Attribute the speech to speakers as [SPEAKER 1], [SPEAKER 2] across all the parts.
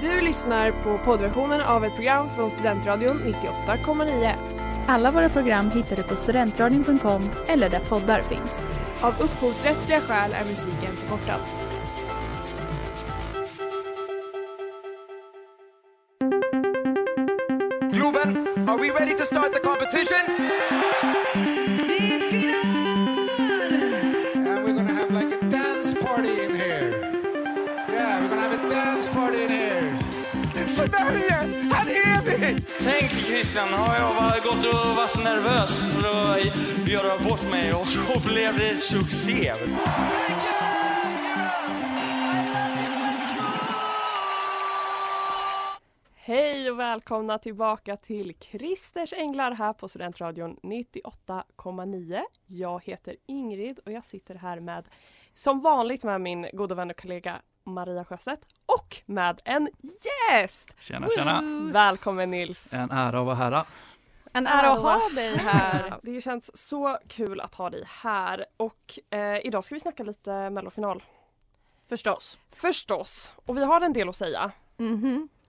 [SPEAKER 1] Du lyssnar på poddversionen av ett program från Studentradion 98,9.
[SPEAKER 2] Alla våra program hittar du på studentradion.com eller där poddar finns.
[SPEAKER 1] Av upphovsrättsliga skäl är musiken förkortad.
[SPEAKER 3] Globen, are we ready to start the competition?
[SPEAKER 4] And we're gonna have like a dance party in here. Yeah, we're gonna have a dance party in here.
[SPEAKER 3] Sverige, här är vi!
[SPEAKER 5] Tänk Christian, har jag varit- gått och varit nervös för att göra bort mig och så blev det succé.
[SPEAKER 1] Hej och välkomna tillbaka till Kristers Änglar här på Studentradion 98,9. Jag heter Ingrid och jag sitter här med som vanligt med min goda vän och kollega Maria Sjöstedt och med en gäst!
[SPEAKER 6] Tjena, tjena.
[SPEAKER 1] Välkommen Nils!
[SPEAKER 6] En ära att vara här.
[SPEAKER 2] En
[SPEAKER 7] ära att ha dig här.
[SPEAKER 1] Ja, Det känns så kul att ha dig här och eh, idag ska vi snacka lite mellofinal
[SPEAKER 7] Förstås.
[SPEAKER 1] förstås och vi har en del att säga.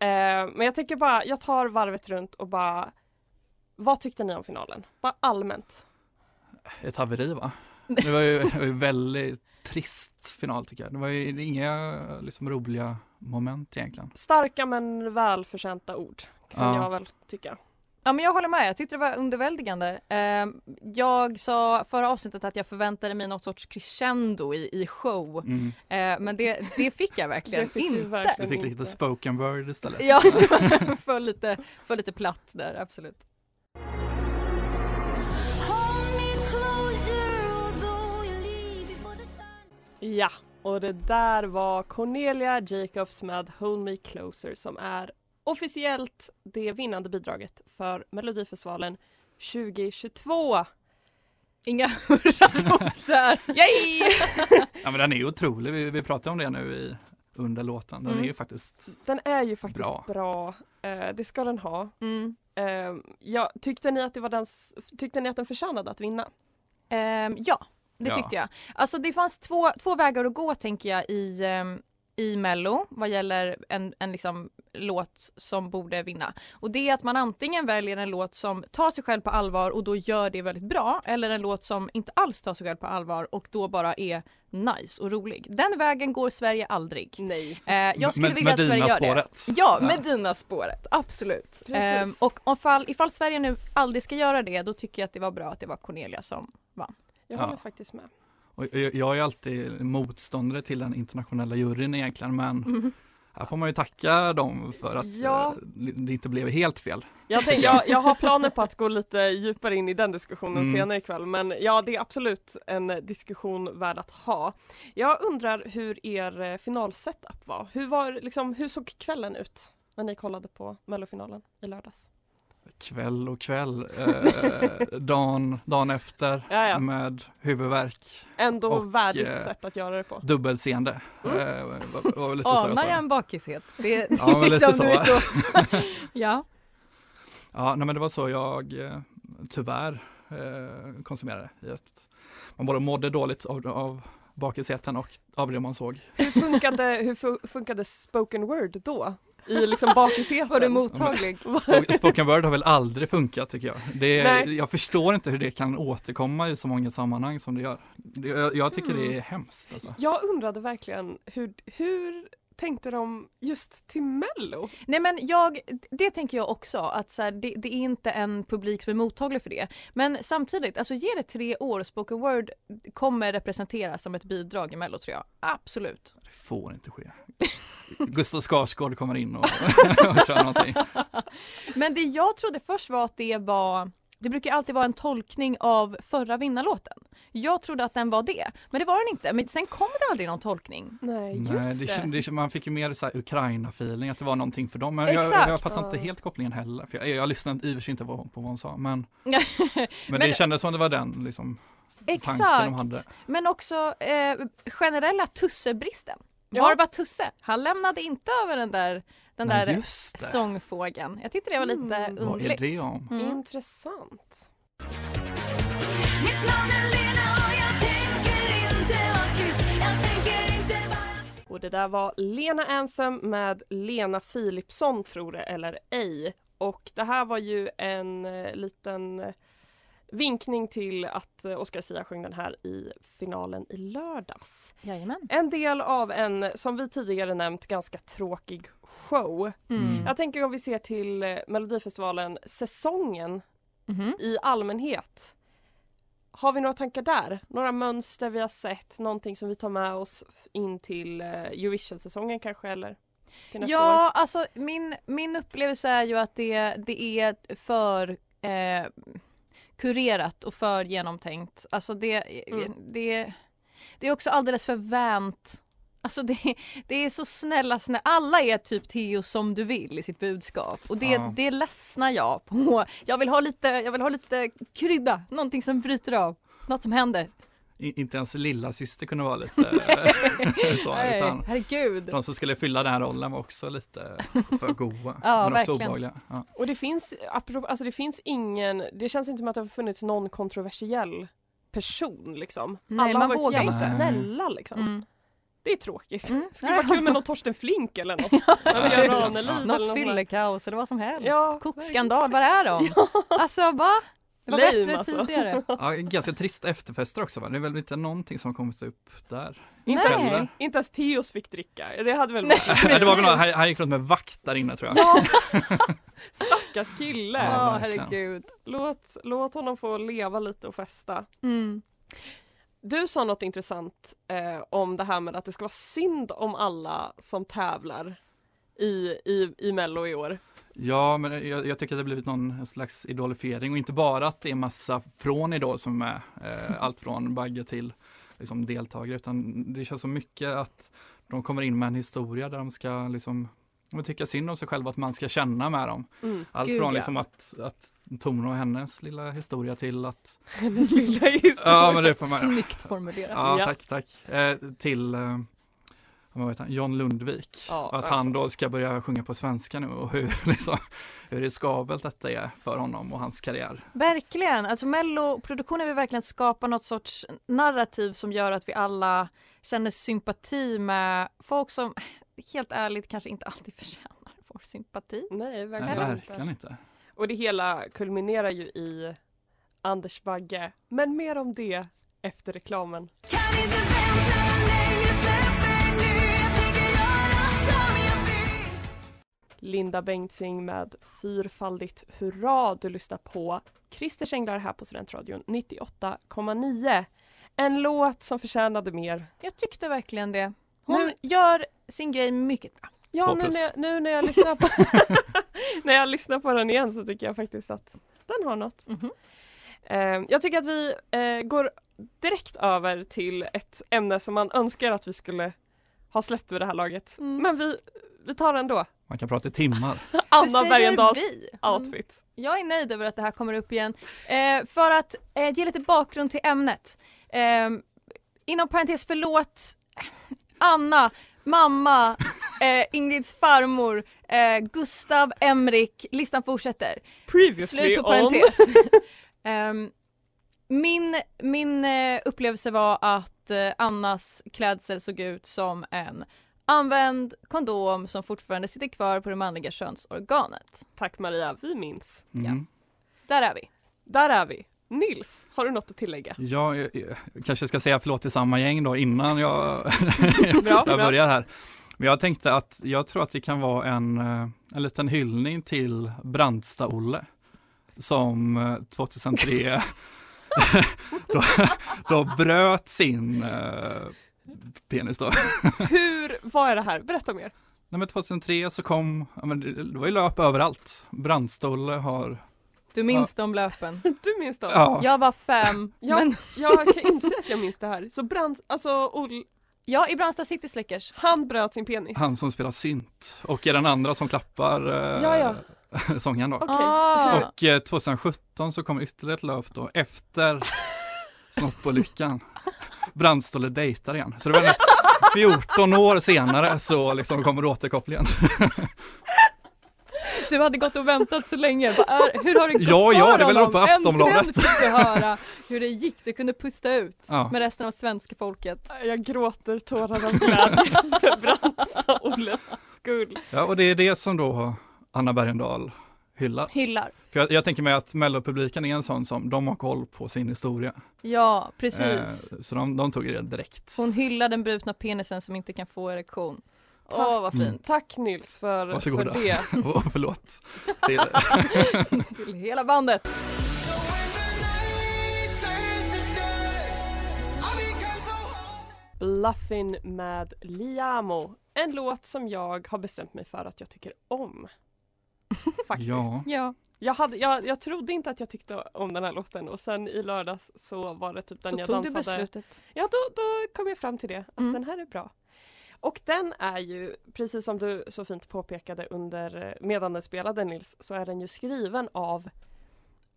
[SPEAKER 1] Eh, men jag tänker bara, jag tar varvet runt och bara vad tyckte ni om finalen? Bara allmänt.
[SPEAKER 6] Ett haveri va? Det var ju, det var ju väldigt trist final tycker jag. Det var ju inga liksom, roliga moment egentligen.
[SPEAKER 1] Starka men välförtjänta ord kan
[SPEAKER 6] Ja.
[SPEAKER 1] jag väl tycka.
[SPEAKER 7] Ja, men jag håller med, jag tyckte det var underväldigande. Ehm, jag sa förra avsnittet att jag förväntade mig något sorts crescendo i, i show.
[SPEAKER 6] Mm.
[SPEAKER 7] Ehm, men det, det fick jag verkligen
[SPEAKER 1] Det fick du
[SPEAKER 7] inte.
[SPEAKER 1] verkligen.
[SPEAKER 6] Jag fick lite spoken word istället.
[SPEAKER 7] Ja, för lite, för lite platt där, absolut.
[SPEAKER 1] Ja, och det där var Cornelia Jacobs med Hold Me Closer som är officiellt det vinnande bidraget för Melodifestivalen 2022.
[SPEAKER 7] Inga hurrarop där.
[SPEAKER 1] Yay!
[SPEAKER 6] Ja, men den är ju otrolig. Vi, vi pratade om det nu i, under låten. Den
[SPEAKER 7] Mm.
[SPEAKER 6] är ju faktiskt...
[SPEAKER 1] Den är ju faktiskt bra.
[SPEAKER 6] Bra.
[SPEAKER 1] Eh, det ska den ha.
[SPEAKER 7] Mm.
[SPEAKER 1] Eh, ja, tyckte, ni att det var den, s- tyckte ni att den förtjänade att vinna?
[SPEAKER 7] Ehm, ja, det
[SPEAKER 6] Ja.
[SPEAKER 7] tyckte jag. Alltså det fanns två, två vägar att gå tänker jag i, ehm, i Mello vad gäller en, en liksom låt som borde vinna. Och det är att man antingen väljer en låt som tar sig själv på allvar och då gör det väldigt bra eller en låt som inte alls tar sig själv på allvar och då bara är nice och rolig. Den vägen går Sverige aldrig.
[SPEAKER 1] Nej.
[SPEAKER 7] Eh, jag skulle
[SPEAKER 6] Med-
[SPEAKER 7] vilja att Sverige gör det.
[SPEAKER 6] Medina-spåret.
[SPEAKER 7] Ja,
[SPEAKER 6] Ja.
[SPEAKER 7] med dina spåret, absolut.
[SPEAKER 1] Precis.
[SPEAKER 7] Ehm, och om fall, ifall Sverige nu aldrig ska göra det, då tycker jag att det var bra att det var Cornelia som vann.
[SPEAKER 1] Jag
[SPEAKER 6] Ja.
[SPEAKER 1] håller faktiskt med.
[SPEAKER 6] Och jag, jag är alltid motståndare till den internationella juryn egentligen men
[SPEAKER 7] Mm.
[SPEAKER 6] här får man ju tacka dem för att
[SPEAKER 1] Ja.
[SPEAKER 6] eh, det inte blev helt fel.
[SPEAKER 1] Jag, tänk, jag, jag har planer på att gå lite djupare in i den diskussionen
[SPEAKER 6] Mm.
[SPEAKER 1] senare ikväll men ja det är absolut en diskussion värd att ha. Jag undrar hur er eh, finalsetup var. Hur, var liksom, hur såg kvällen ut när ni kollade på mellofinalen i lördags?
[SPEAKER 6] kväll och kväll, eh, dagen, dagen efter
[SPEAKER 1] Ja, ja.
[SPEAKER 6] med huvudvärk,
[SPEAKER 1] Ändå
[SPEAKER 6] Mm. Och,
[SPEAKER 1] värdigt
[SPEAKER 6] eh,
[SPEAKER 1] sätt att göra det på.
[SPEAKER 6] dubbelseende.
[SPEAKER 1] Mm.
[SPEAKER 6] Eh, var, var väl lite så jag
[SPEAKER 7] Anar
[SPEAKER 6] sa.
[SPEAKER 7] jag en bakishet? Det, det
[SPEAKER 6] Ja,
[SPEAKER 7] är
[SPEAKER 6] men lite
[SPEAKER 7] liksom, du är
[SPEAKER 6] så.
[SPEAKER 7] så. ja.
[SPEAKER 6] Ja, nej, men det var så jag eh, tyvärr eh, konsumerade. I ett- Man både mådde dåligt av, av bakisheten och av det man såg.
[SPEAKER 1] Hur funkade, hur fu- funkade spoken word då? I liksom bakisheten?
[SPEAKER 7] Var du mottaglig?
[SPEAKER 6] Spoken- Spoken word har väl aldrig funkat tycker jag. Det,
[SPEAKER 1] Nej.
[SPEAKER 6] jag förstår inte hur det kan återkomma i så många sammanhang som det gör. Det, jag, jag tycker
[SPEAKER 1] Mm.
[SPEAKER 6] det är hemskt alltså.
[SPEAKER 1] Jag undrade verkligen hur, hur tänkte de just till Mello?
[SPEAKER 7] Nej men jag, det tänker jag också att så här, det, det är inte en publik som är mottaglig för det. Men samtidigt, alltså ge det tre år och spoken word kommer representeras som ett bidrag i Mello tror jag. Absolut.
[SPEAKER 6] Det får inte ske. Gustav Skarsgård kommer in och, och kör någonting.
[SPEAKER 7] Men det jag trodde först var att det var det brukar alltid vara en tolkning av förra vinnarlåten. Jag trodde att den var det, men det var den inte. Men sen kom det aldrig någon tolkning.
[SPEAKER 1] Nej, just
[SPEAKER 6] Nej, det,
[SPEAKER 1] det.
[SPEAKER 6] kän- det, kän- man fick ju mer så här Ukraina-feeling, att det var någonting för dem. Men jag, jag,
[SPEAKER 7] Exakt.
[SPEAKER 6] jag fattar inte
[SPEAKER 1] Ja.
[SPEAKER 6] helt kopplingen heller, för jag, jag lyssnade i och för sig inte på, på vad hon sa. Men, men
[SPEAKER 7] Men-
[SPEAKER 6] det kändes som det var den liksom. tanken de hade.
[SPEAKER 7] Exakt, men också eh, generella tussebristen.
[SPEAKER 1] Ja.
[SPEAKER 7] Var var Tusse? Han lämnade inte över den där, den
[SPEAKER 6] Nej,
[SPEAKER 7] där
[SPEAKER 6] just det.
[SPEAKER 7] sångfågeln. Jag tyckte det var lite
[SPEAKER 1] Mm.
[SPEAKER 6] Vad är
[SPEAKER 7] underligt.
[SPEAKER 6] det om?
[SPEAKER 7] Mm.
[SPEAKER 1] Intressant. Och det där var Lena Anthem med Lena Philipsson tror det eller ej. Och det här var ju en eh, liten eh, vinkning till att eh, Oscar Sia sjöng den här i finalen i lördags.
[SPEAKER 7] Jajamän.
[SPEAKER 1] En del av en, som vi tidigare nämnt, ganska tråkig show.
[SPEAKER 7] Mm.
[SPEAKER 1] Jag tänker om vi ser till eh, Melodifestivalen, säsongen
[SPEAKER 7] Mhm.
[SPEAKER 1] i allmänhet. Har vi några tankar där? Några mönster vi har sett? Någonting som vi tar med oss f- in till eh, Eurovision-säsongen kanske eller? Till nästa år?
[SPEAKER 7] Ja, alltså min, min upplevelse är ju att det, det är för eh, kurerat och för genomtänkt. Alltså det,
[SPEAKER 1] Mm.
[SPEAKER 7] det, det är också alldeles för vänt. Alltså det, det är så snälla, snälla, alla är typ Theo som du vill i sitt budskap och det,
[SPEAKER 6] Ja.
[SPEAKER 7] det ledsnar jag på. Jag vill, ha lite, jag vill ha lite krydda, någonting som bryter av, något som händer.
[SPEAKER 6] I, inte ens lilla syster kunde vara lite så,
[SPEAKER 7] Nej,
[SPEAKER 6] utan
[SPEAKER 7] herregud.
[SPEAKER 6] de som skulle fylla den här rollen var också lite för goa.
[SPEAKER 7] Ja,
[SPEAKER 6] men också
[SPEAKER 7] verkligen.
[SPEAKER 6] obehagliga. Ja.
[SPEAKER 1] Och det finns, apropå, alltså det finns ingen, det känns inte som att det har funnits någon kontroversiell person liksom.
[SPEAKER 7] Nej,
[SPEAKER 1] Alla har
[SPEAKER 7] man
[SPEAKER 1] varit
[SPEAKER 7] vågar
[SPEAKER 1] jävligt
[SPEAKER 6] inte.
[SPEAKER 1] snälla liksom.
[SPEAKER 7] Mm.
[SPEAKER 1] Det är tråkigt.
[SPEAKER 7] Mm.
[SPEAKER 1] Skulle vara kul med någon Torsten Flink eller något. Maria
[SPEAKER 6] Ja.
[SPEAKER 1] Ranelid eller något
[SPEAKER 7] Något
[SPEAKER 1] sånt där.
[SPEAKER 7] fyllekaos eller vad som helst.
[SPEAKER 1] Ja,
[SPEAKER 7] Kokskandal, var är de? Alltså va? Det var
[SPEAKER 1] Lame,
[SPEAKER 7] bättre
[SPEAKER 1] alltså.
[SPEAKER 7] tidigare.
[SPEAKER 6] Ja, ganska trist efterfester också va? Det är väl inte någonting som kommit upp där?
[SPEAKER 1] Inte
[SPEAKER 7] Nej.
[SPEAKER 1] ens,
[SPEAKER 6] Heller.
[SPEAKER 1] inte ens Theoz fick dricka. Det hade väl
[SPEAKER 7] Nej.
[SPEAKER 1] varit
[SPEAKER 6] Nej, det var väl någon, han, han gick runt med vakt där inne tror jag.
[SPEAKER 7] Ja,
[SPEAKER 1] stackars kille.
[SPEAKER 6] Ja.
[SPEAKER 7] ja
[SPEAKER 6] verkligen.
[SPEAKER 7] herregud.
[SPEAKER 1] Låt, låt honom få leva lite och festa.
[SPEAKER 7] Mm.
[SPEAKER 1] Du sa något intressant eh, om det här med att det ska vara synd om alla som tävlar i, i, i Mello i år.
[SPEAKER 6] Ja, men jag, jag tycker att det har blivit någon slags idolifiering och inte bara att det är massa från Idol som är eh, allt från bagge till liksom, deltagare utan det känns så mycket att de kommer in med en historia där de ska liksom de tycker synd om sig själva, att man ska känna med dem.
[SPEAKER 1] Mm.
[SPEAKER 6] Allt
[SPEAKER 7] Gud,
[SPEAKER 6] från
[SPEAKER 7] ja.
[SPEAKER 6] liksom att, att Tornå och hennes lilla historia till att...
[SPEAKER 1] Hennes lilla historia.
[SPEAKER 6] Ja, men det får man...
[SPEAKER 7] Snyggt formulerat.
[SPEAKER 6] Ja,
[SPEAKER 1] Ja.
[SPEAKER 6] tack, tack. Eh, till eh, vad vet han, John Lundvik.
[SPEAKER 1] Ja,
[SPEAKER 6] att
[SPEAKER 1] alltså.
[SPEAKER 6] han då ska börja sjunga på svenska nu och hur, liksom, hur riskabelt detta är för honom och hans karriär.
[SPEAKER 7] Verkligen, alltså melloproduktionen vill verkligen skapa något sorts narrativ som gör att vi alla känner sympati med folk som helt ärligt kanske inte alltid förtjänar vår sympati.
[SPEAKER 1] Nej,
[SPEAKER 6] Nej,
[SPEAKER 1] verkligen inte.
[SPEAKER 6] verkligen inte.
[SPEAKER 1] Och det hela kulminerar ju i Anders Bagge. Men mer om det efter reklamen. Linda Bengtzing med Fyrfaldigt hurra. Du lyssnar på Christers Änglar här på Studentradion 98,9. En låt som förtjänade mer.
[SPEAKER 7] Jag tyckte verkligen det. Hon
[SPEAKER 1] Nu-
[SPEAKER 7] gör sin grej mycket bra.
[SPEAKER 1] Ja,
[SPEAKER 6] Två
[SPEAKER 1] nu
[SPEAKER 6] plus.
[SPEAKER 1] när, jag, nu när jag lyssnar på när jag lyssnar på den igen så tycker jag faktiskt att den har något.
[SPEAKER 7] Mhm.
[SPEAKER 1] Eh, jag tycker att vi eh, går direkt över till ett ämne som man önskar att vi skulle ha släppt vid det här laget.
[SPEAKER 7] Mm.
[SPEAKER 1] Men vi, vi tar det ändå.
[SPEAKER 6] Man kan prata i timmar.
[SPEAKER 7] Du
[SPEAKER 1] Anna
[SPEAKER 7] säger
[SPEAKER 1] Bergendahls
[SPEAKER 7] vi. Mm.
[SPEAKER 1] outfit.
[SPEAKER 7] Jag är nöjd över att det här kommer upp igen. Eh, för att eh, ge lite bakgrund till ämnet. Eh, inom parentes, förlåt Anna, mamma, eh, Ingrids farmor, eh, Gustav, Emrik, listan fortsätter.
[SPEAKER 1] Previously
[SPEAKER 7] Slut
[SPEAKER 1] on.
[SPEAKER 7] på parentes. Ehm, min min eh, upplevelse var att eh, Annas klädsel såg ut som en använd kondom som fortfarande sitter kvar på det manliga könsorganet.
[SPEAKER 1] Tack Maria, vi minns.
[SPEAKER 6] Mm.
[SPEAKER 7] Där är vi.
[SPEAKER 1] Där är vi. Nils, har du något att tillägga?
[SPEAKER 6] Jag, eh, eh, kanske ska säga förlåt till samma gäng då innan jag
[SPEAKER 1] Bra,
[SPEAKER 6] jag
[SPEAKER 1] bra.
[SPEAKER 6] börjar här. Men jag tänkte att jag tror att det kan vara en, eh, en liten hyllning till Brandsta-Olle som eh, 2003 då, då bröt sin eh, penis då.
[SPEAKER 1] Hur, vad är det här? Berätta mer.
[SPEAKER 6] Nej men 2003 så kom, ja, men det, det var ju löp överallt. Brandsta-Olle har,
[SPEAKER 7] Du minns de löpen.
[SPEAKER 1] Du minns dem?
[SPEAKER 6] ja,
[SPEAKER 7] Jag var fem,
[SPEAKER 1] Ja.
[SPEAKER 7] men
[SPEAKER 1] Jag kan inte säga att jag minns det här. Så brand, alltså Ol,
[SPEAKER 7] ja, i Brandsta City Slickers.
[SPEAKER 1] han bröt sin penis.
[SPEAKER 6] han som spelar synt och är den andra som klappar eh,
[SPEAKER 1] Ja, ja.
[SPEAKER 6] sången då.
[SPEAKER 1] Okej.
[SPEAKER 7] Ah.
[SPEAKER 6] Och eh, 2017 så kom ytterligare ett löp då efter snoppolyckan. Brandståle dejtar igen. Så det var 14 år senare så liksom kommer återkopplingen.
[SPEAKER 7] Du hade gått och väntat så länge. Bara, är, hur har det gått
[SPEAKER 6] Ja, ja,
[SPEAKER 7] för
[SPEAKER 6] det är väl
[SPEAKER 7] honom?
[SPEAKER 6] på Aftonbladet.
[SPEAKER 7] Äntligen fick du höra hur det gick. Du kunde pusta ut
[SPEAKER 6] Ja.
[SPEAKER 7] med resten av svenska folket.
[SPEAKER 1] Jag gråter tårar av glädje för Brandsta-Olles skull.
[SPEAKER 6] ja, och det är det som då Anna Bergendahl hyllar.
[SPEAKER 7] Hyllar.
[SPEAKER 6] För jag, jag tänker mig att Mellopubliken är en sån som, de har koll på sin historia.
[SPEAKER 7] Ja, precis.
[SPEAKER 6] Eh, så de, de tog det direkt.
[SPEAKER 7] Hon hyllar den brutna penisen som inte kan få erektion. Åh, vad
[SPEAKER 6] Mm.
[SPEAKER 7] fint.
[SPEAKER 1] Tack Nils för, för
[SPEAKER 6] Varsågoda.
[SPEAKER 1] det.
[SPEAKER 6] Oh, förlåt. Till,
[SPEAKER 7] Till hela bandet.
[SPEAKER 1] Bluffin med Liamo. En låt som jag har bestämt mig för att jag tycker om. Faktiskt.
[SPEAKER 6] ja,
[SPEAKER 7] Ja,
[SPEAKER 1] Jag, hade, jag, jag trodde inte att jag tyckte om den här låten och sen i lördags så var det typ den
[SPEAKER 7] så
[SPEAKER 1] jag
[SPEAKER 7] tog du
[SPEAKER 1] dansade.
[SPEAKER 7] beslutet.
[SPEAKER 1] Ja, då, då kom jag fram till det, att
[SPEAKER 7] Mm.
[SPEAKER 1] den här är bra. Och den är ju, precis som du så fint påpekade under eh, medan den spelade Nils, så är den ju skriven av,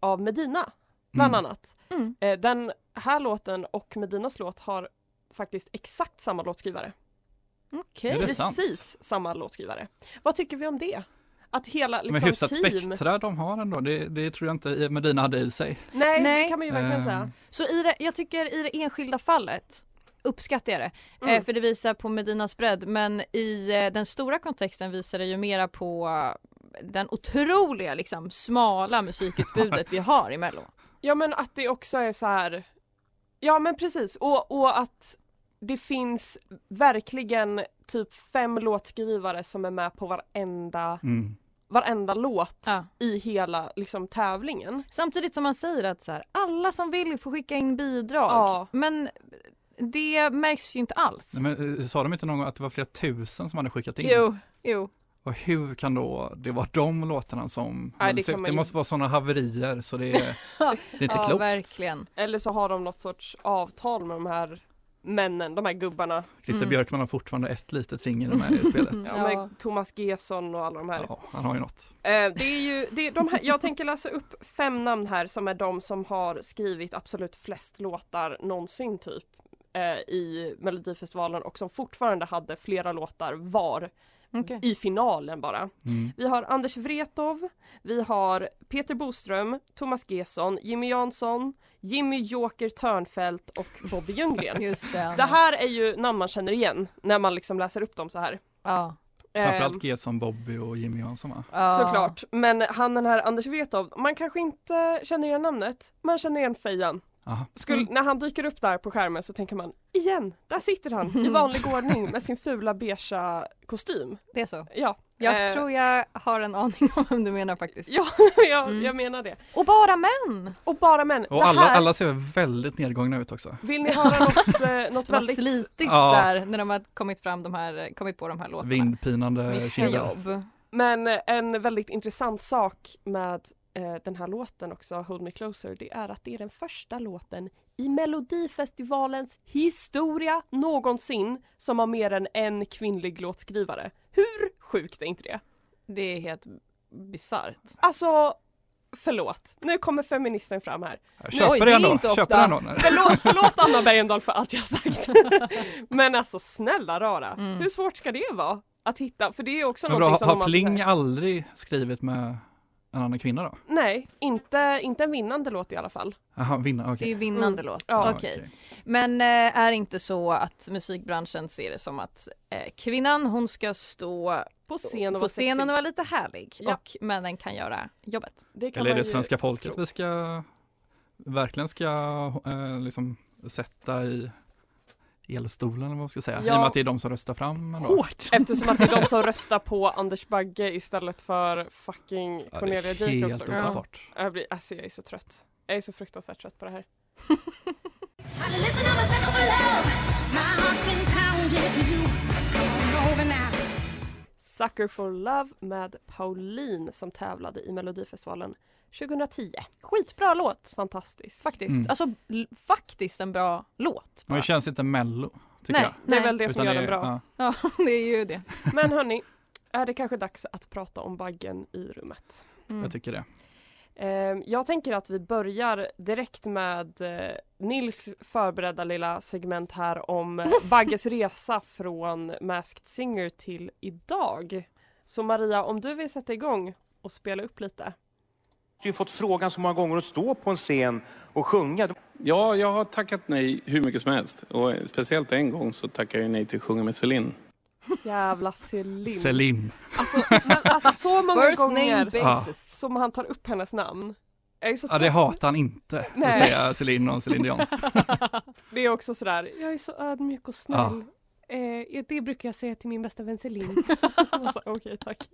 [SPEAKER 1] av Medina, bland
[SPEAKER 6] Mm.
[SPEAKER 1] annat.
[SPEAKER 7] Mm.
[SPEAKER 1] Eh, Den här låten och Medinas låt har faktiskt exakt samma låtskrivare.
[SPEAKER 7] Okej.
[SPEAKER 6] Är det sant?
[SPEAKER 1] Precis samma låtskrivare. Vad tycker vi om det? Att hela
[SPEAKER 6] men
[SPEAKER 1] liksom,
[SPEAKER 6] hyfsat
[SPEAKER 1] team...
[SPEAKER 6] spektra de har ändå, det, det tror jag inte Medina hade i sig.
[SPEAKER 1] Nej, det
[SPEAKER 7] Nej.
[SPEAKER 1] kan man ju verkligen
[SPEAKER 6] Eh,
[SPEAKER 1] säga.
[SPEAKER 7] Så i det, jag tycker i det enskilda fallet uppskattar jag det.
[SPEAKER 1] Mm.
[SPEAKER 7] Eh, för det visar på Medinas bredd. Men i eh, den stora kontexten visar det ju mera på eh, den otroliga liksom smala musikutbudet vi har i Mello.
[SPEAKER 1] Ja men att det också är så här. Ja men precis och, och att det finns verkligen typ fem låtskrivare som är med på varenda,
[SPEAKER 6] Mm.
[SPEAKER 1] varenda låt
[SPEAKER 7] Ja.
[SPEAKER 1] i hela liksom tävlingen.
[SPEAKER 7] Samtidigt som man säger att så här, alla som vill får skicka in bidrag.
[SPEAKER 1] Ja.
[SPEAKER 7] Men det märks ju inte alls.
[SPEAKER 6] Nej, men, eh, sa de inte någon gång att det var flera tusen som hade skickat in?
[SPEAKER 7] Jo, jo.
[SPEAKER 6] Och hur kan då det vara de låtarna som
[SPEAKER 1] Nej, det
[SPEAKER 6] det,
[SPEAKER 1] kan man
[SPEAKER 6] det
[SPEAKER 1] ju-
[SPEAKER 6] måste vara sådana haverier så det är, det är inte
[SPEAKER 7] Ja,
[SPEAKER 6] klokt.
[SPEAKER 7] verkligen.
[SPEAKER 1] Eller så har de något sorts avtal med de här männen, de här gubbarna.
[SPEAKER 6] Christer
[SPEAKER 7] Mm.
[SPEAKER 6] Björkman har fortfarande ett litet finger med i spelet.
[SPEAKER 7] Mm.
[SPEAKER 1] Ja.
[SPEAKER 7] Ja.
[SPEAKER 1] Med Thomas Gesson och alla de här.
[SPEAKER 6] Ja, han har ju något.
[SPEAKER 1] Eh, det är ju, det är de här, jag tänker läsa upp fem namn här som är de som har skrivit absolut flest låtar någonsin typ eh, i Melodifestivalen och som fortfarande hade flera låtar var
[SPEAKER 7] Okej.
[SPEAKER 1] i finalen bara.
[SPEAKER 7] Ehm.
[SPEAKER 6] Mm.
[SPEAKER 1] Vi har Anders Wretow, vi har Peter Boström, Thomas Gesson, Jimmy Jansson, Jimmy Joker Törnfält och Bobby Ljunggren.
[SPEAKER 7] Just det.
[SPEAKER 1] Det här är ju namn man känner igen när man liksom läser upp dem så här.
[SPEAKER 7] ja,
[SPEAKER 1] Ehm,
[SPEAKER 6] Framförallt G som Bobby och Jimmy Jansson va?
[SPEAKER 7] ja.
[SPEAKER 1] Såklart, men han den här Anders Wretow, man kanske inte känner igen namnet, man känner igen fejan.
[SPEAKER 6] Aha.
[SPEAKER 1] Skulle, När han dyker upp där på skärmen så tänker man, igen, där sitter han i vanlig ordning med sin fula beigea kostym.
[SPEAKER 7] Det är så.
[SPEAKER 1] Ja,
[SPEAKER 7] Jag
[SPEAKER 1] eh,
[SPEAKER 7] tror jag har en aning om vem du menar faktiskt.
[SPEAKER 1] ja jag, jag menar det.
[SPEAKER 7] Och bara män!
[SPEAKER 1] Och bara män, det
[SPEAKER 6] Och alla,
[SPEAKER 1] här,
[SPEAKER 6] alla ser väldigt nedgångna ut också.
[SPEAKER 1] vill ni höra något, eh, något
[SPEAKER 7] Det var
[SPEAKER 1] väldigt...
[SPEAKER 7] slitigt
[SPEAKER 6] Ja.
[SPEAKER 7] där när de har kommit, fram de här, kommit på de här låtarna.
[SPEAKER 6] Vindpinande
[SPEAKER 7] Mycket
[SPEAKER 6] kinder.
[SPEAKER 7] jobb.
[SPEAKER 1] Men eh, en väldigt intressant sak med eh, den här låten också, Hold Me Closer, det är att det är den första låten i Melodifestivalens historia någonsin som har mer än en kvinnlig låtskrivare. Hur sjukt är inte det?
[SPEAKER 7] Det är helt bisarrt.
[SPEAKER 1] Alltså, förlåt, nu kommer feministen fram här.
[SPEAKER 7] Oj,
[SPEAKER 6] Köper
[SPEAKER 7] det är
[SPEAKER 6] den
[SPEAKER 7] inte
[SPEAKER 6] då?
[SPEAKER 7] ofta.
[SPEAKER 6] Köper den då?
[SPEAKER 1] Förlåt, förlåt Anna Bergendahl för allt jag har sagt. Men alltså snälla rara, hur svårt ska det vara? Att hitta, för det är också
[SPEAKER 6] Men
[SPEAKER 1] någonting som
[SPEAKER 6] bra,
[SPEAKER 1] de
[SPEAKER 6] har
[SPEAKER 1] alltid
[SPEAKER 6] Pling
[SPEAKER 1] säger.
[SPEAKER 6] aldrig skrivit med en annan kvinna då?
[SPEAKER 1] Nej, inte, inte en vinnande låt i alla fall.
[SPEAKER 6] Jaha, vinna,
[SPEAKER 7] Det är
[SPEAKER 6] okej.
[SPEAKER 7] ju vinnande låt.
[SPEAKER 1] Mm. Ja.
[SPEAKER 7] Okej. Men eh, är det inte så att musikbranschen ser det som att eh, kvinnan hon ska stå
[SPEAKER 1] På scen och
[SPEAKER 7] på
[SPEAKER 1] vara
[SPEAKER 7] scenen
[SPEAKER 1] sexig.
[SPEAKER 7] och vara lite härlig
[SPEAKER 1] Ja.
[SPEAKER 7] och männen kan göra jobbet.
[SPEAKER 1] Det kan
[SPEAKER 6] Eller är
[SPEAKER 1] man
[SPEAKER 6] det
[SPEAKER 1] ju
[SPEAKER 6] svenska folket
[SPEAKER 1] tro.
[SPEAKER 6] vi ska verkligen ska eh, liksom sätta i elstolen eller vad man ska säga? I
[SPEAKER 1] Ja.
[SPEAKER 6] och med att det är de som röstar fram ändå.
[SPEAKER 7] Hårt!
[SPEAKER 1] Eftersom att det är de som röstar på Anders Bagge istället för fucking
[SPEAKER 6] Ja, det
[SPEAKER 1] Cornelia
[SPEAKER 6] är
[SPEAKER 1] Jacobs
[SPEAKER 6] helt
[SPEAKER 1] också.
[SPEAKER 7] Ja.
[SPEAKER 6] ofattbart.
[SPEAKER 1] Jag blir, alltså jag är så trött. Jag är så fruktansvärt trött på det här. Sucker for Love med Pauline som tävlade i Melodifestivalen 2010.
[SPEAKER 7] Skitbra låt
[SPEAKER 1] Fantastiskt.
[SPEAKER 7] faktiskt.
[SPEAKER 6] Mm.
[SPEAKER 7] Alltså l- faktiskt en bra låt.
[SPEAKER 6] Men
[SPEAKER 7] bara.
[SPEAKER 6] det känns inte mello, tycker
[SPEAKER 7] Nej,
[SPEAKER 6] jag.
[SPEAKER 1] Det är
[SPEAKER 7] nej.
[SPEAKER 1] väl det som
[SPEAKER 6] Utan
[SPEAKER 1] gör den bra.
[SPEAKER 6] ja.
[SPEAKER 7] Ja, det är ju det.
[SPEAKER 1] Men hörni, är det kanske dags att prata om baggen i rummet?
[SPEAKER 7] Mm.
[SPEAKER 6] jag tycker det.
[SPEAKER 1] Ehm, Jag tänker att vi börjar direkt med eh, Nils förberedda lilla segment här om eh, Bagges resa från Masked Singer till idag. Så Maria, om du vill sätta igång, och spela upp lite.
[SPEAKER 8] Du har ju fått frågan så många gånger att stå på en scen och sjunga.
[SPEAKER 9] Ja, jag har tackat nej hur mycket som helst. Och speciellt en gång så tackade jag nej till att sjunga med Celine.
[SPEAKER 1] Jävla Céline.
[SPEAKER 6] Selim.
[SPEAKER 1] Alltså, men, alltså så många
[SPEAKER 10] First name
[SPEAKER 1] gånger
[SPEAKER 10] basis.
[SPEAKER 1] som han tar upp hennes namn. Jag är så
[SPEAKER 6] Ja, det
[SPEAKER 1] trött.
[SPEAKER 6] hatar han inte.
[SPEAKER 1] Nej.
[SPEAKER 6] Nej. Säga Celine och Celine Dion.
[SPEAKER 1] Det är också sådär, jag är så ödmjuk och snäll. Eh, det brukar jag säga till min bästa vän Celine. alltså, Okej, tack.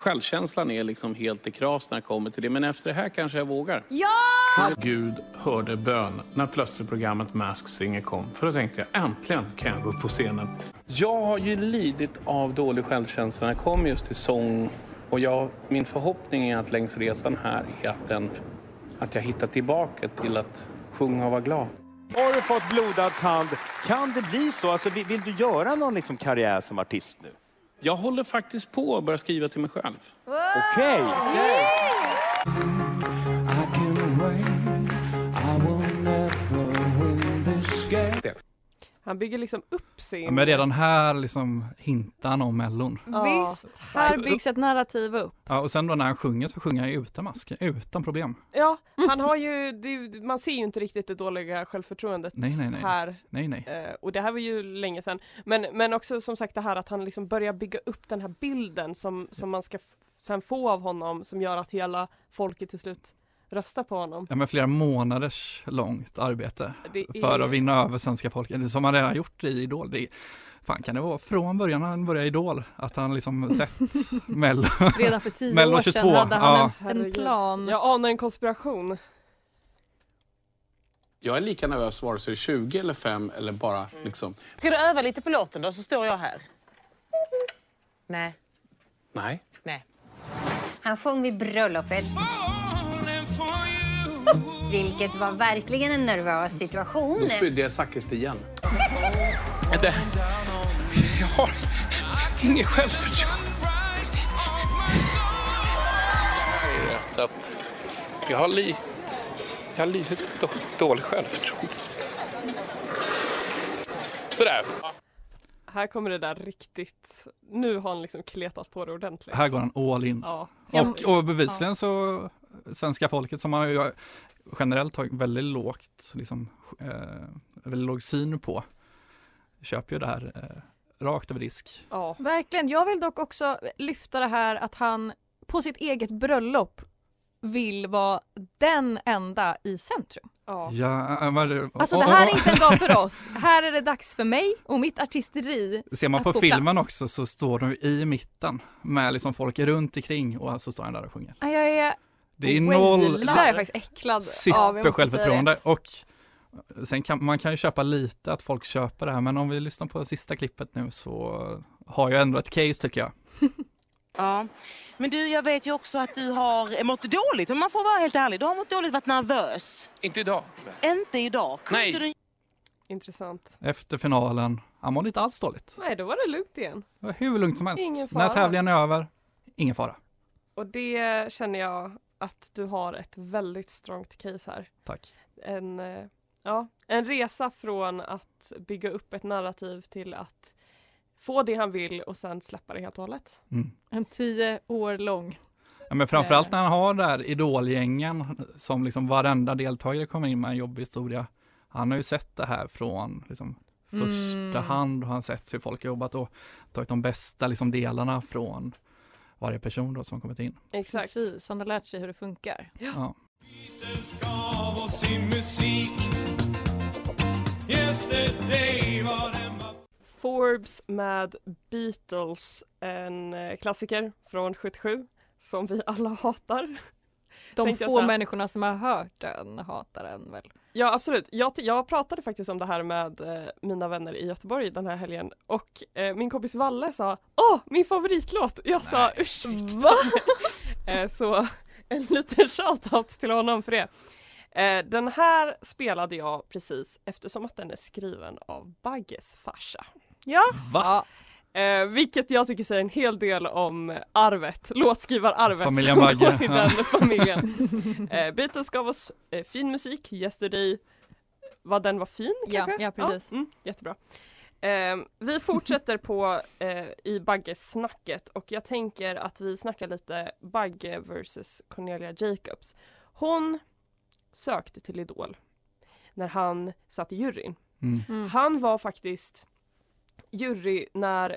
[SPEAKER 9] Självkänslan är liksom helt i kras när det kommer till det. Men efter det här kanske jag vågar.
[SPEAKER 10] Ja!
[SPEAKER 9] Gud hörde bön när plötsligt programmet Mask Singer kom. För då tänkte jag äntligen kan jag gå upp på scenen. Jag har ju lidit av dålig självkänsla när jag kom just till sång. Och jag, min förhoppning är att längs resan här är att, den, att jag hittar tillbaka till att sjunga och vara glad.
[SPEAKER 8] Har du fått blodad tand? Kan det bli så? Alltså, vill, vill du göra någon liksom karriär som artist nu?
[SPEAKER 9] Jag håller faktiskt på att börja skriva till mig själv.
[SPEAKER 8] Okej!
[SPEAKER 1] Han bygger liksom upp sin...
[SPEAKER 6] Ja, men redan här liksom hintar han om Mellon.
[SPEAKER 1] Ja.
[SPEAKER 7] Visst, här byggs ett narrativ upp.
[SPEAKER 6] Ja, och sen då när han sjunger så sjunger han ju utan mask, utan problem.
[SPEAKER 1] Ja, han har ju, det, är ju- man ser ju inte riktigt det dåliga självförtroendet
[SPEAKER 6] Nej, nej, nej.
[SPEAKER 1] här.
[SPEAKER 6] Nej, nej.
[SPEAKER 1] Eh, och det här var ju länge sedan. Men, men också som sagt det här att han liksom börjar bygga upp den här bilden som, som man ska f- sen få av honom som gör att hela folket till slut röstar på honom.
[SPEAKER 6] Ja, men flera månaders långt arbete
[SPEAKER 1] Det
[SPEAKER 6] för
[SPEAKER 1] är-
[SPEAKER 6] att vinna över svenska folket, Eller som han redan gjort i Idol. Det är, fan kan det vara från början när han började i Idol, att han liksom sett Mello
[SPEAKER 7] Redan för tio
[SPEAKER 6] Mello
[SPEAKER 7] år sedan
[SPEAKER 6] 22,
[SPEAKER 7] hade han
[SPEAKER 6] ja.
[SPEAKER 7] en, en
[SPEAKER 1] Herregud.
[SPEAKER 7] plan.
[SPEAKER 1] Jag anar en konspiration.
[SPEAKER 9] Jag är lika nervös vare sig 20 eller 5 eller bara liksom,
[SPEAKER 10] Ska du öva lite på låten då så står jag här? Nej.
[SPEAKER 9] nej.
[SPEAKER 10] Han sjöng vid bröllopet, vilket var verkligen en nervös situation.
[SPEAKER 9] spydde jag sakristian. Det... Jag har inget självförtroende. Jag har rätt att... Jag har, li... jag har lite då... dåligt självförtroende. Sådär.
[SPEAKER 1] Här kommer det där riktigt, nu har han liksom kletat på det ordentligt.
[SPEAKER 6] Här går han all in.
[SPEAKER 1] Ja.
[SPEAKER 6] Och, och bevisligen så, svenska folket som har ju generellt har väldigt lågt, liksom, eh, väldigt låg syn på, köper ju det här eh, rakt över disk.
[SPEAKER 1] ja.
[SPEAKER 7] Verkligen. Jag vill dock också lyfta det här att han på sitt eget bröllop vill vara den enda i centrum.
[SPEAKER 1] ja.
[SPEAKER 6] Ja, eh, vad är det?
[SPEAKER 7] Alltså det här är inte en dag för oss. Här är det dags för mig och mitt artisteri.
[SPEAKER 6] Ser man
[SPEAKER 7] att
[SPEAKER 6] på
[SPEAKER 7] få
[SPEAKER 6] filmen
[SPEAKER 7] plats.
[SPEAKER 6] också så står de i mitten med liksom folk runt omkring och så står han där och sjunger.
[SPEAKER 7] Jag är,
[SPEAKER 6] Det är
[SPEAKER 1] Wailar.
[SPEAKER 6] noll
[SPEAKER 7] Oh, det där är jag faktiskt äcklad av. jag måste säga det.
[SPEAKER 6] supersjälvförtroende och sen kan man kan ju köpa lite att folk köper det här men om vi lyssnar på sista klippet nu så har jag ändå ett case tycker jag.
[SPEAKER 10] Ja. Men du, jag vet ju också att du har mått dåligt, om man får vara helt ärlig. Du har mått dåligt, varit nervös.
[SPEAKER 9] Inte idag.
[SPEAKER 10] Inte idag. Kunde
[SPEAKER 9] Nej.
[SPEAKER 10] Du...
[SPEAKER 1] Intressant.
[SPEAKER 6] Efter finalen, han mår inte alls dåligt.
[SPEAKER 1] Nej, då var det lugnt igen.
[SPEAKER 6] Det var hur lugnt som helst.
[SPEAKER 1] Ingen fara.
[SPEAKER 6] När tävlingen är över, ingen fara.
[SPEAKER 1] Och det känner jag att du har ett väldigt strongt case här.
[SPEAKER 6] Tack.
[SPEAKER 1] en, eh, ja, en resa från att bygga upp ett narrativ till att få det han vill och sen släppa det helt och hållet.
[SPEAKER 6] Mm.
[SPEAKER 7] En tio år lång.
[SPEAKER 6] Ja, men
[SPEAKER 7] Eh.
[SPEAKER 6] framförallt när han har det här idolgängen som liksom varenda deltagare kommer in med en jobbig historia. Han har ju sett det här från liksom första
[SPEAKER 7] Mm.
[SPEAKER 6] hand och han har sett hur folk har jobbat och tagit de bästa liksom delarna från varje person då som kommit in.
[SPEAKER 1] Exakt.
[SPEAKER 7] Precis, han har lärt sig hur det funkar.
[SPEAKER 6] Ja.
[SPEAKER 1] Forbes med Beatles, en eh, klassiker från 77 som vi alla hatar.
[SPEAKER 7] De
[SPEAKER 1] Tänkte jag
[SPEAKER 7] få
[SPEAKER 1] säga.
[SPEAKER 7] människorna som har hört den hatar den väl.
[SPEAKER 1] Ja absolut, jag, t- jag pratade faktiskt om det här med eh, mina vänner i Göteborg den här helgen och eh, min kompis Valle sa Åh, min favoritlåt! Jag sa ursäkta eh, Så en liten shoutout till honom för det. Eh, den här spelade jag precis eftersom att den är skriven av Bagges farsa.
[SPEAKER 7] Ja.
[SPEAKER 6] Va?
[SPEAKER 7] ja.
[SPEAKER 1] Eh, vilket jag tycker säger en hel del om arvet, låtskrivararvet
[SPEAKER 6] Familjen
[SPEAKER 1] som
[SPEAKER 6] Bagge,
[SPEAKER 1] går i
[SPEAKER 6] ja.
[SPEAKER 1] den familjen. eh, Beatles gav oss eh, fin musik, Yesterday, vad den var fin
[SPEAKER 7] Ja,
[SPEAKER 1] kanske?
[SPEAKER 7] ja, precis.
[SPEAKER 1] mm, jättebra. Ehm, vi fortsätter på eh, i Bagge-snacket och jag tänker att vi snackar lite Bagge versus Cornelia Jacobs. Hon sökte till Idol när han satt i juryn.
[SPEAKER 6] Mm.
[SPEAKER 1] Han var faktiskt jury när t-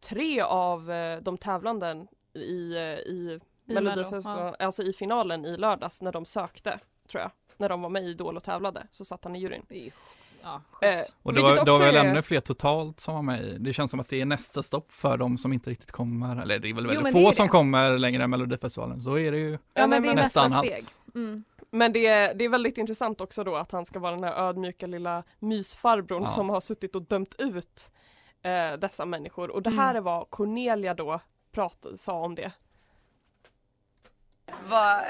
[SPEAKER 1] tre av eh, de tävlande i, eh, i
[SPEAKER 7] I
[SPEAKER 1] Melodifestivalen,
[SPEAKER 7] Mello,
[SPEAKER 1] alltså i finalen i lördags när de sökte tror jag. När de var med i Idol och tävlade så satt han i juryn.
[SPEAKER 7] Det är ju- Ja,
[SPEAKER 1] Eh,
[SPEAKER 7] sjukt.
[SPEAKER 6] Och det
[SPEAKER 1] vilket
[SPEAKER 6] var, det var
[SPEAKER 1] också
[SPEAKER 6] väl
[SPEAKER 1] är-
[SPEAKER 6] ännu fler totalt som var med i. Det känns som att det är nästa stopp för de som inte riktigt kommer, eller det är väl
[SPEAKER 7] Jo,
[SPEAKER 6] väldigt
[SPEAKER 7] men det
[SPEAKER 6] få
[SPEAKER 7] är
[SPEAKER 6] som
[SPEAKER 7] det.
[SPEAKER 6] kommer längre än Melodifestivalen. Så är det ju.
[SPEAKER 7] Ja men det är nästa,
[SPEAKER 6] nästan allt.
[SPEAKER 7] steg. Mm.
[SPEAKER 1] Men det, är- det är väldigt intressant också då att han ska vara den här ödmjuka lilla mysfarbrorn
[SPEAKER 6] Ja.
[SPEAKER 1] som har suttit och dömt ut eh, dessa människor. Och det här
[SPEAKER 7] Mm.
[SPEAKER 1] är vad Cornelia då pratade, sa om det.
[SPEAKER 11] var,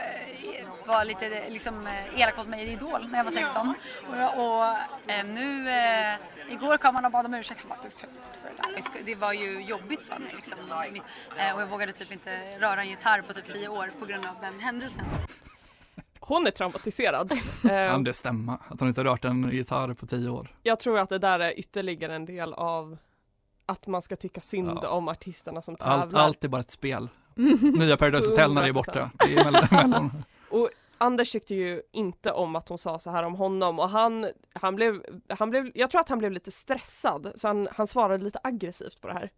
[SPEAKER 11] var lite eh, liksom, eh, elak mot mig i Idol när jag var 16. Och, jag- och eh, nu, eh, igår kom han och bad om ursäkt. Han bara, du förlåt för det där. Det sk- Det var ju jobbigt för mig. Liksom, mitt, eh, och jag vågade typ inte röra en gitarr på typ 10 år på grund av den händelsen.
[SPEAKER 1] Hon är traumatiserad. Eh,
[SPEAKER 6] Kan det stämma? Att han inte rört en gitarr på tio år?
[SPEAKER 1] jag tror att det där är ytterligare en del av att man ska tycka synd
[SPEAKER 6] Ja.
[SPEAKER 1] om artisterna som tävlar.
[SPEAKER 6] Allt, allt är bara ett spel. Nya Paradise Hotel när det är borta. Det är mell- mellon.
[SPEAKER 1] Och Anders tyckte ju inte om att hon sa så här om honom och han, han, blev, han blev, jag tror att han blev lite stressad så han, han svarade lite aggressivt på det här.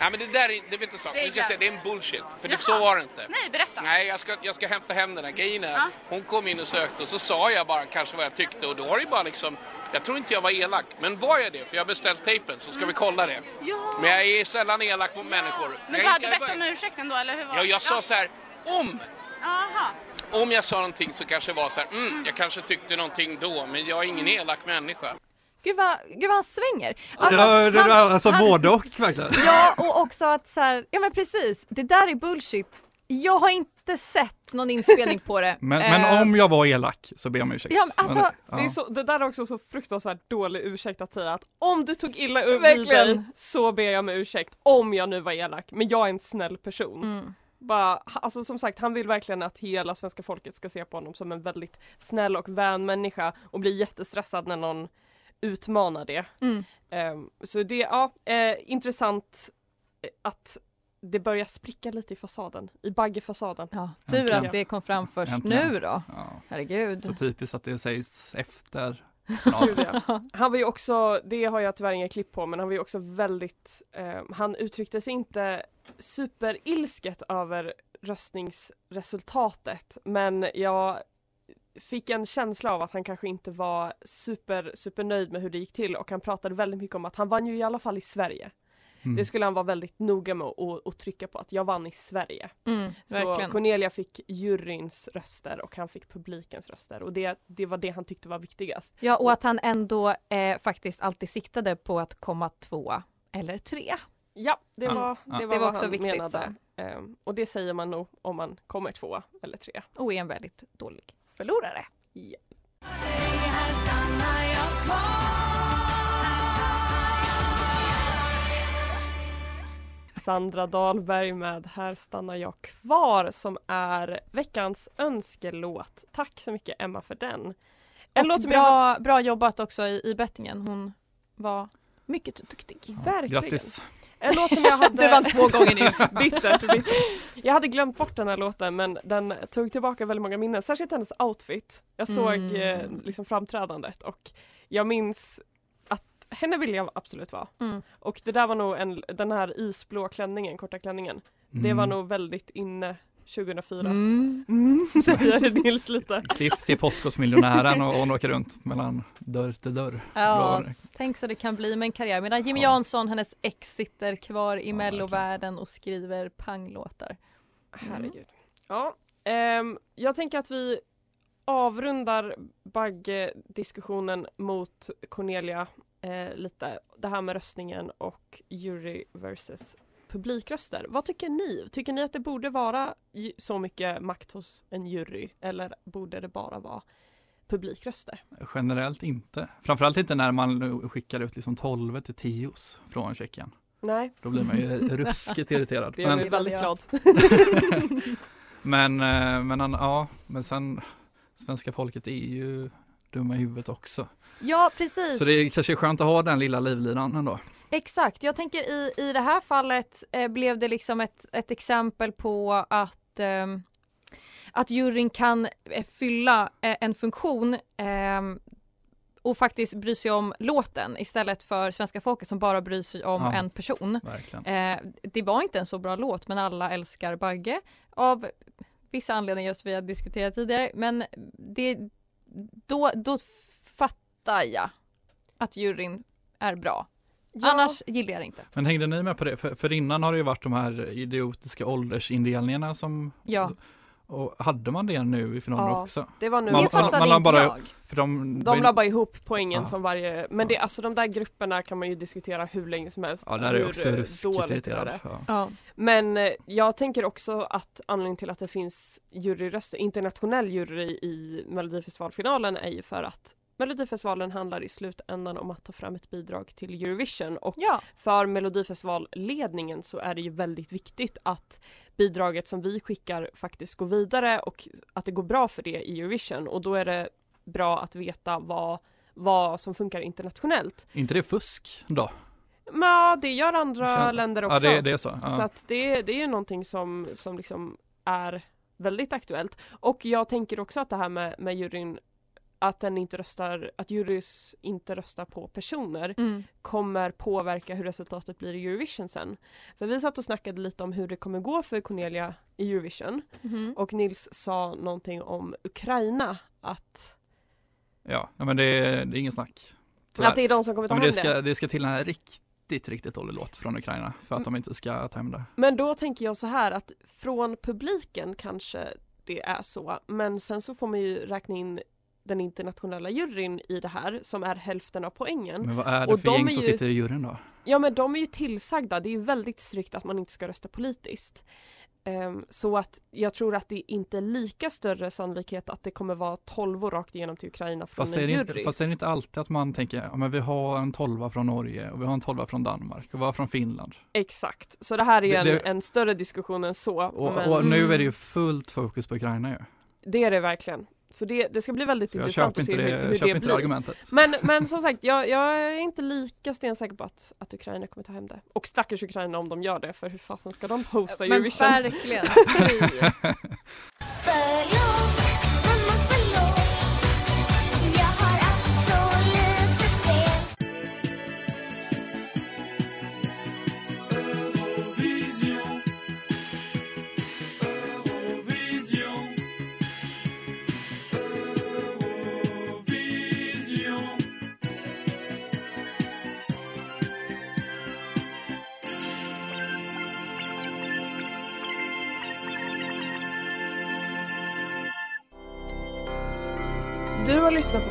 [SPEAKER 12] Nej men det där är, det är inte sant.
[SPEAKER 13] Det är
[SPEAKER 12] Det, ska jag
[SPEAKER 13] jävligt.
[SPEAKER 12] säga, det är en bullshit. För det,
[SPEAKER 13] Jaha.
[SPEAKER 12] så var det inte.
[SPEAKER 13] Nej, berätta.
[SPEAKER 12] Nej, jag ska, jag ska hämta hem den här grejen här.
[SPEAKER 13] Ja.
[SPEAKER 12] Hon kom in och sökte och så sa jag bara kanske vad jag tyckte och då har det ju bara liksom... Jag tror inte jag var elak, men var jag det? För jag har beställt tejpen så ska vi kolla det.
[SPEAKER 13] Mm. Ja.
[SPEAKER 12] Men jag är sällan elak mot människor.
[SPEAKER 13] Men du
[SPEAKER 12] jag,
[SPEAKER 13] hade
[SPEAKER 12] jag,
[SPEAKER 13] bett om ursäkt ändå, eller hur var
[SPEAKER 12] Ja,
[SPEAKER 13] det?
[SPEAKER 12] jag sa så här, om
[SPEAKER 13] Aha.
[SPEAKER 12] om jag sa någonting så kanske det var så här, mm, jag kanske tyckte någonting då, men jag är ingen
[SPEAKER 13] Mm.
[SPEAKER 12] elak människa.
[SPEAKER 7] Gud, vad, gud vad han svänger.
[SPEAKER 6] Ja, det-
[SPEAKER 7] han-
[SPEAKER 6] alltså
[SPEAKER 7] han-
[SPEAKER 6] både och verkligen.
[SPEAKER 7] Ja och också att så här, ja men precis, det där är bullshit. Jag har inte sett någon inspelning på det.
[SPEAKER 6] Men,
[SPEAKER 7] Eh,
[SPEAKER 6] men om jag var elak så ber jag om ursäkt.
[SPEAKER 7] Ja, men alltså,
[SPEAKER 6] ja.
[SPEAKER 1] Det, är så, det där är också så fruktansvärt dålig ursäkt att säga att om du tog illa ur vid
[SPEAKER 7] Verkligen.
[SPEAKER 1] dig så ber jag om ursäkt om jag nu var elak men jag är en snäll person.
[SPEAKER 7] mm.
[SPEAKER 1] Bara, ha- alltså som sagt han vill verkligen att hela svenska folket ska se på honom som en väldigt snäll och vän människa och bli jättestressad när någon utmanar det.
[SPEAKER 7] Mm.
[SPEAKER 1] Ehm, så det är ja, eh, intressant eh, att det börjar spricka lite i fasaden, i baggefasaden.
[SPEAKER 7] Ja, tur att det kom fram först
[SPEAKER 6] Äntligen.
[SPEAKER 7] nu då.
[SPEAKER 6] Ja.
[SPEAKER 7] Herregud.
[SPEAKER 6] Så typiskt att det sägs efter.
[SPEAKER 1] Julia. Han var ju också, det har jag tyvärr inga klipp på, men han var ju också väldigt, eh, han uttryckte sig inte superilsket över röstningsresultatet, men jag fick en känsla av att han kanske inte var super, supernöjd med hur det gick till och han pratade väldigt mycket om att han vann ju i alla fall i Sverige.
[SPEAKER 6] Mm.
[SPEAKER 1] Det skulle han vara väldigt noga med att att trycka på, att jag vann i Sverige.
[SPEAKER 7] Mm,
[SPEAKER 1] Så
[SPEAKER 7] verkligen.
[SPEAKER 1] Cornelia fick juryns röster och han fick publikens röster och det, det var det han tyckte var viktigast.
[SPEAKER 7] Ja och att han ändå eh, faktiskt alltid siktade på att komma tvåa eller trea.
[SPEAKER 1] Ja, det
[SPEAKER 7] Ja,
[SPEAKER 1] var,
[SPEAKER 7] ja.
[SPEAKER 1] Det var, vad också han viktigt, menade. Ehm, och det säger man nog om man kommer tvåa eller trea.
[SPEAKER 7] Och är en väldigt dålig förlorare.
[SPEAKER 1] Ja. Sandra Dahlberg med Här stannar jag kvar som är veckans önskelåt. Tack så mycket Emma för den.
[SPEAKER 7] Och
[SPEAKER 1] En låt som
[SPEAKER 7] bra,
[SPEAKER 1] jag har...
[SPEAKER 7] bra jobbat också i, i bettingen. Hon var mycket duktig.
[SPEAKER 1] Verkligen.
[SPEAKER 6] Grattis.
[SPEAKER 1] En låt som jag hade...
[SPEAKER 7] Du vann två gånger nu.
[SPEAKER 1] bittert, bittert. Jag hade glömt bort den här låten men den tog tillbaka väldigt många minnen, särskilt hennes outfit. Jag såg
[SPEAKER 7] Mm.
[SPEAKER 1] eh, liksom framträdandet och jag minns att henne ville jag absolut vara.
[SPEAKER 7] Mm.
[SPEAKER 1] Och det där var nog en, den här isblå klänningen, korta klänningen. Det
[SPEAKER 6] Mm.
[SPEAKER 1] var nog väldigt inne 2004.
[SPEAKER 7] Mm.
[SPEAKER 1] Mm, säger Nils lite.
[SPEAKER 6] Klipp till Postkodmiljonären och hon åker runt mellan dörr till dörr.
[SPEAKER 7] Ja,
[SPEAKER 6] Bra.
[SPEAKER 7] tänk så det kan bli med en karriär. Medan Jimmy
[SPEAKER 6] Ja.
[SPEAKER 7] Jansson, hennes ex, sitter kvar i mellovärlden och skriver panglåtar. Mm.
[SPEAKER 1] Herregud. Ja, ehm, jag tänker att vi avrundar Bagge-diskussionen mot Cornelia eh, lite. Det här med röstningen och jury versus publikröster. Vad tycker ni? Tycker ni att det borde vara ju- så mycket makt hos en jury eller borde det bara vara publikröster?
[SPEAKER 6] Generellt inte. Framförallt inte när man skickar ut liksom 12 till 10 från Tjeckien.
[SPEAKER 1] Nej,
[SPEAKER 6] Då blir man ju ruskigt irriterad.
[SPEAKER 1] det gör mig
[SPEAKER 6] Men-
[SPEAKER 1] väldigt glad.
[SPEAKER 6] Men, eh, men han- ja, men sen svenska folket är ju dumma i huvudet också.
[SPEAKER 7] Ja, precis.
[SPEAKER 6] Så det är kanske skönt att ha den lilla livlinan ändå.
[SPEAKER 7] Exakt, jag tänker i, i det här fallet eh, blev det liksom ett, ett exempel på att ehm, att juryn kan eh, fylla eh, en funktion ehm, och faktiskt bry sig om låten istället för svenska folket som bara bryr sig om
[SPEAKER 6] Ja,
[SPEAKER 7] en person.
[SPEAKER 6] verkligen.
[SPEAKER 7] Eh, det var inte en så bra låt men alla älskar Bagge av vissa anledningar som vi har diskuterat tidigare men det, då, då fattar jag att juryn är bra. Annars gillar jag det inte.
[SPEAKER 6] Men hängde ni med på det? För, för innan har det ju varit de här idiotiska åldersindelningarna som
[SPEAKER 7] Ja.
[SPEAKER 6] och hade man det nu i finalen
[SPEAKER 1] Ja,
[SPEAKER 6] också?
[SPEAKER 1] det var nu.
[SPEAKER 6] Man,
[SPEAKER 1] Det fattade
[SPEAKER 6] man, man
[SPEAKER 1] inte
[SPEAKER 6] bara,
[SPEAKER 1] jag.
[SPEAKER 6] För de,
[SPEAKER 1] De la bara ihop poängen
[SPEAKER 6] Ja.
[SPEAKER 1] som varje, men det, alltså de där grupperna kan man ju diskutera hur länge som helst.
[SPEAKER 6] Ja, där är jag
[SPEAKER 1] hur
[SPEAKER 6] också
[SPEAKER 1] eh,
[SPEAKER 6] ruskigt
[SPEAKER 1] dåligt det
[SPEAKER 6] irriterad,
[SPEAKER 1] är.
[SPEAKER 6] ja.
[SPEAKER 7] Ja.
[SPEAKER 1] Men eh, jag tänker också att anledningen till att det finns juryröster, internationell jury i Melodifestivalfinalen är ju för att Melodifestivalen handlar i slutändan om att ta fram ett bidrag till Eurovision och för Melodifestivalledningen så är det ju väldigt viktigt att bidraget som vi skickar faktiskt går vidare och att det går bra för det i Eurovision och då är det bra att veta vad, vad som funkar internationellt.
[SPEAKER 6] inte det fusk då?
[SPEAKER 1] Men ja, det gör andra
[SPEAKER 6] Känner-
[SPEAKER 1] länder
[SPEAKER 6] Ja,
[SPEAKER 1] också.
[SPEAKER 6] det- det är så, ja.
[SPEAKER 1] att det, det är ju någonting som, som liksom är väldigt aktuellt. Och jag tänker också att det här med, med juryn att den inte röstar, att jurys inte röstar på personer
[SPEAKER 7] Mm.
[SPEAKER 1] kommer påverka hur resultatet blir i Eurovision sen. För vi satt och snackade lite om hur det kommer gå för Cornelia i Eurovision
[SPEAKER 7] Mhm.
[SPEAKER 1] och Nils sa någonting om Ukraina att
[SPEAKER 6] Ja, ja, men det, är- det är ingen snack.
[SPEAKER 1] Att det är de som kommer ta
[SPEAKER 6] ja, men
[SPEAKER 1] hem
[SPEAKER 6] det.
[SPEAKER 1] det.
[SPEAKER 6] Ska, det ska till en riktigt, riktigt dålig låt från Ukraina för att
[SPEAKER 1] Mm.
[SPEAKER 6] de inte ska ta hem det.
[SPEAKER 1] Men då tänker jag så här att från publiken kanske det är så, men sen så får man ju räkna in den internationella juryn i det här som är hälften av poängen.
[SPEAKER 6] Men vad är det för
[SPEAKER 1] de
[SPEAKER 6] gäng
[SPEAKER 1] är
[SPEAKER 6] som
[SPEAKER 1] ju-
[SPEAKER 6] sitter i juryn då?
[SPEAKER 1] Ja men de är ju tillsagda, det är ju väldigt strikt att man inte ska rösta politiskt. Ehm, så att jag tror att det inte är lika större sannolikhet att det kommer vara tolvor rakt igenom till Ukraina från
[SPEAKER 6] Fast
[SPEAKER 1] en
[SPEAKER 6] är, det
[SPEAKER 1] jury.
[SPEAKER 6] inte, fast är det inte alltid att man tänker, ja, men vi har en tolva från Norge och vi har en tolva från Danmark och vi har från Finland.
[SPEAKER 1] Exakt, så det här är ju
[SPEAKER 6] Det-
[SPEAKER 1] en,
[SPEAKER 6] det-
[SPEAKER 1] en större diskussion än så.
[SPEAKER 6] Och,
[SPEAKER 1] men- Mm.
[SPEAKER 6] och nu är det ju fullt fokus på Ukraina ju.
[SPEAKER 1] Det är det verkligen. Så det, det ska bli väldigt
[SPEAKER 6] Så jag
[SPEAKER 1] intressant
[SPEAKER 6] köper
[SPEAKER 1] att se
[SPEAKER 6] inte
[SPEAKER 1] hur,
[SPEAKER 6] det-
[SPEAKER 1] hur
[SPEAKER 6] jag köper
[SPEAKER 1] det
[SPEAKER 6] inte
[SPEAKER 1] blir.
[SPEAKER 6] det argumentet.
[SPEAKER 1] Men, men som sagt, jag, jag är inte lika stensäker på att, att Ukraina kommer ta hem det. Och stackars Ukraina om de gör det, för hur fasen ska de hosta
[SPEAKER 7] Men
[SPEAKER 1] Eurovision?
[SPEAKER 7] verkligen.
[SPEAKER 13] Du har lyssnat på